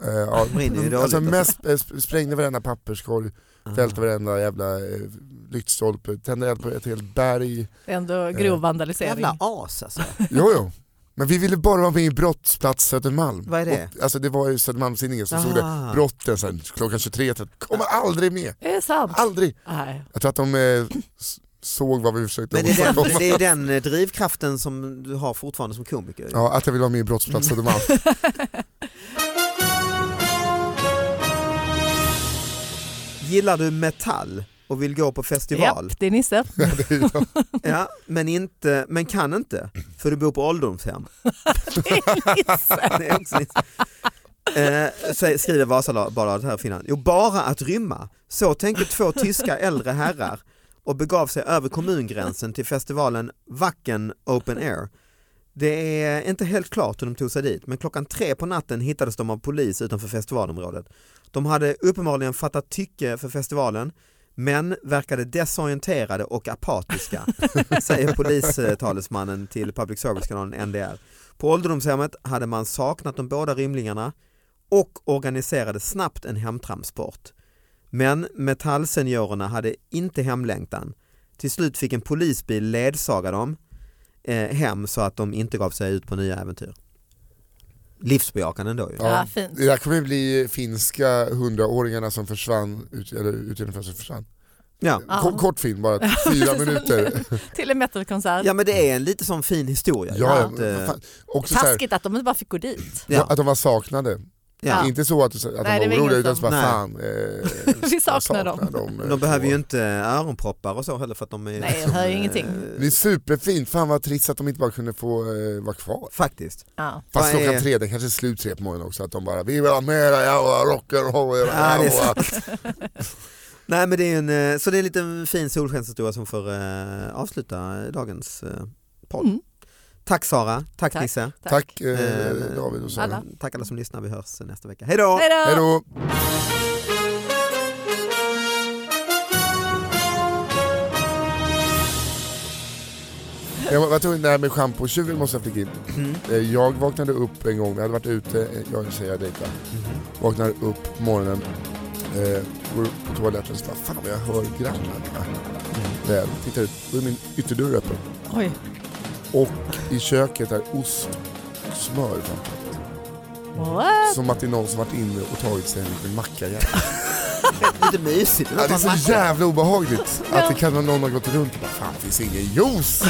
Speaker 4: Eh, ja,
Speaker 3: Det Mm. brinner ju dåligt,
Speaker 4: alltså
Speaker 3: alltså.
Speaker 4: mest, eh, sp- sprängde varenda papperskorg,
Speaker 3: Ah.
Speaker 4: välte varenda jävla eh, lyktstolpe, tände eld på ett helt berg.
Speaker 2: Ändå
Speaker 4: Eh,
Speaker 2: grov vandalisering.
Speaker 3: Jävla as alltså.
Speaker 4: Jo, jo. Men vi ville bara vara med i Brottsplats Södermalm.
Speaker 3: Vad är det?
Speaker 4: Och, alltså det var ju Södermalmstidningen som
Speaker 3: Aha.
Speaker 4: stod det. Brotten sen klockan 23.30. Kommer aldrig med.
Speaker 2: Är det sant?
Speaker 4: Aldrig.
Speaker 2: Nej.
Speaker 4: Jag tror att de eh, s- såg vad vi försökte
Speaker 3: Men det är,
Speaker 4: åstadkomma.
Speaker 3: den, det är den eh, drivkraften som du har fortfarande som komiker.
Speaker 4: Ja, att jag ville vara med i Brottsplats Södermalm.
Speaker 3: Gillar du metall och vill gå på festival?
Speaker 2: Japp, det är Nisse.
Speaker 4: Det är ju-
Speaker 3: Ja, men, inte, men kan inte för du bor på ålderdomshem.
Speaker 2: Det är Nisse.
Speaker 3: Det är också lite- Eh, sä- skriver Vasabladet här i Finland. Jo, bara att rymma. Så tänkte två tyska äldre herrar och begav sig över kommungränsen till festivalen Wacken Open Air. Det är inte helt klart hur de tog sig dit, men klockan tre på natten hittades de av polis utanför festivalområdet. De hade uppenbarligen fattat tycke för festivalen, men verkade desorienterade och apatiska, säger polistalesmannen till public service-kanalen NDR. På ålderdomshemmet hade man saknat de båda rymlingarna och organiserade snabbt en hemtrampsport. Men metallseniorerna hade inte hemlängtan. Till slut fick en polisbil ledsaga dem eh, hem så att de inte gav sig ut på nya äventyr. Livsbejakande ändå ju.
Speaker 2: Ja, fint.
Speaker 4: Det där kommer ju bli finska hundraåringarna som försvann, ut, eller utredningsfönstret försvann.
Speaker 3: Ja.
Speaker 2: Ja.
Speaker 4: Kort, kort film, bara fyra minuter.
Speaker 2: Till en metalkonsert.
Speaker 3: ja men det är en lite sån fin historia.
Speaker 4: Ja,
Speaker 3: ju.
Speaker 4: ja.
Speaker 3: Att, eh,
Speaker 4: men fan. Också så här,
Speaker 2: Taskigt att de inte bara fick gå dit.
Speaker 3: ja.
Speaker 4: att de var saknade.
Speaker 3: Ja.
Speaker 4: Inte så att, att
Speaker 2: Nej, det
Speaker 4: de
Speaker 2: var
Speaker 4: var
Speaker 2: ingen
Speaker 4: oroliga utan så
Speaker 2: som-
Speaker 4: bara
Speaker 3: Nej.
Speaker 4: fan, eh,
Speaker 2: Vi saknar
Speaker 4: jag
Speaker 2: dem.
Speaker 4: dem. eh,
Speaker 3: De behöver ju inte öronproppar och så heller för att de är...
Speaker 2: Nej, jag hör ju
Speaker 3: eh,
Speaker 2: ingenting.
Speaker 4: Det är superfint, fan vad trist att de inte bara kunde få eh, vara kvar.
Speaker 3: Faktiskt.
Speaker 2: Ja.
Speaker 4: Fast
Speaker 3: Vad är-
Speaker 4: klockan tre, det kanske är slut tre på morgonen också, att de bara vi vill ha mera jävla rock'n'roll.
Speaker 3: Ja, det är
Speaker 4: jävla."
Speaker 3: Nej men det är en, eh, så det är en liten fin solskenshistoria som får eh, avsluta dagens eh, podd.
Speaker 2: Mm.
Speaker 3: Tack Sara, tack,
Speaker 2: Tack.
Speaker 3: Nisse.
Speaker 4: Tack eh,
Speaker 3: Eh,
Speaker 4: David och Sara.
Speaker 2: alla.
Speaker 3: Tack alla som lyssnar, vi hörs nästa vecka. Hej då!
Speaker 2: Hej då!
Speaker 4: Hej då! Jag var tvungen, det här med schampotjuven måste jag flika in.
Speaker 3: Mm.
Speaker 4: Eh, Jag vaknade upp en gång, jag hade varit ute, eh, jag och en tjej jag dejtade. Vaknade upp på morgonen, eh, går upp på toaletten och bara fan vad jag hör grannarna. Mm. Tittar ut, då är min ytterdörr öppen.
Speaker 2: Oj.
Speaker 4: Och i köket är ost och smör framför.
Speaker 2: What?
Speaker 4: Som att det är någon som varit inne och tagit sig en liten macka. igen.
Speaker 3: Lite mysigt.
Speaker 4: Ja, det är så jävla obehagligt att
Speaker 2: Ja.
Speaker 4: det kan vara någon har gått runt och bara fan finns ingen juice.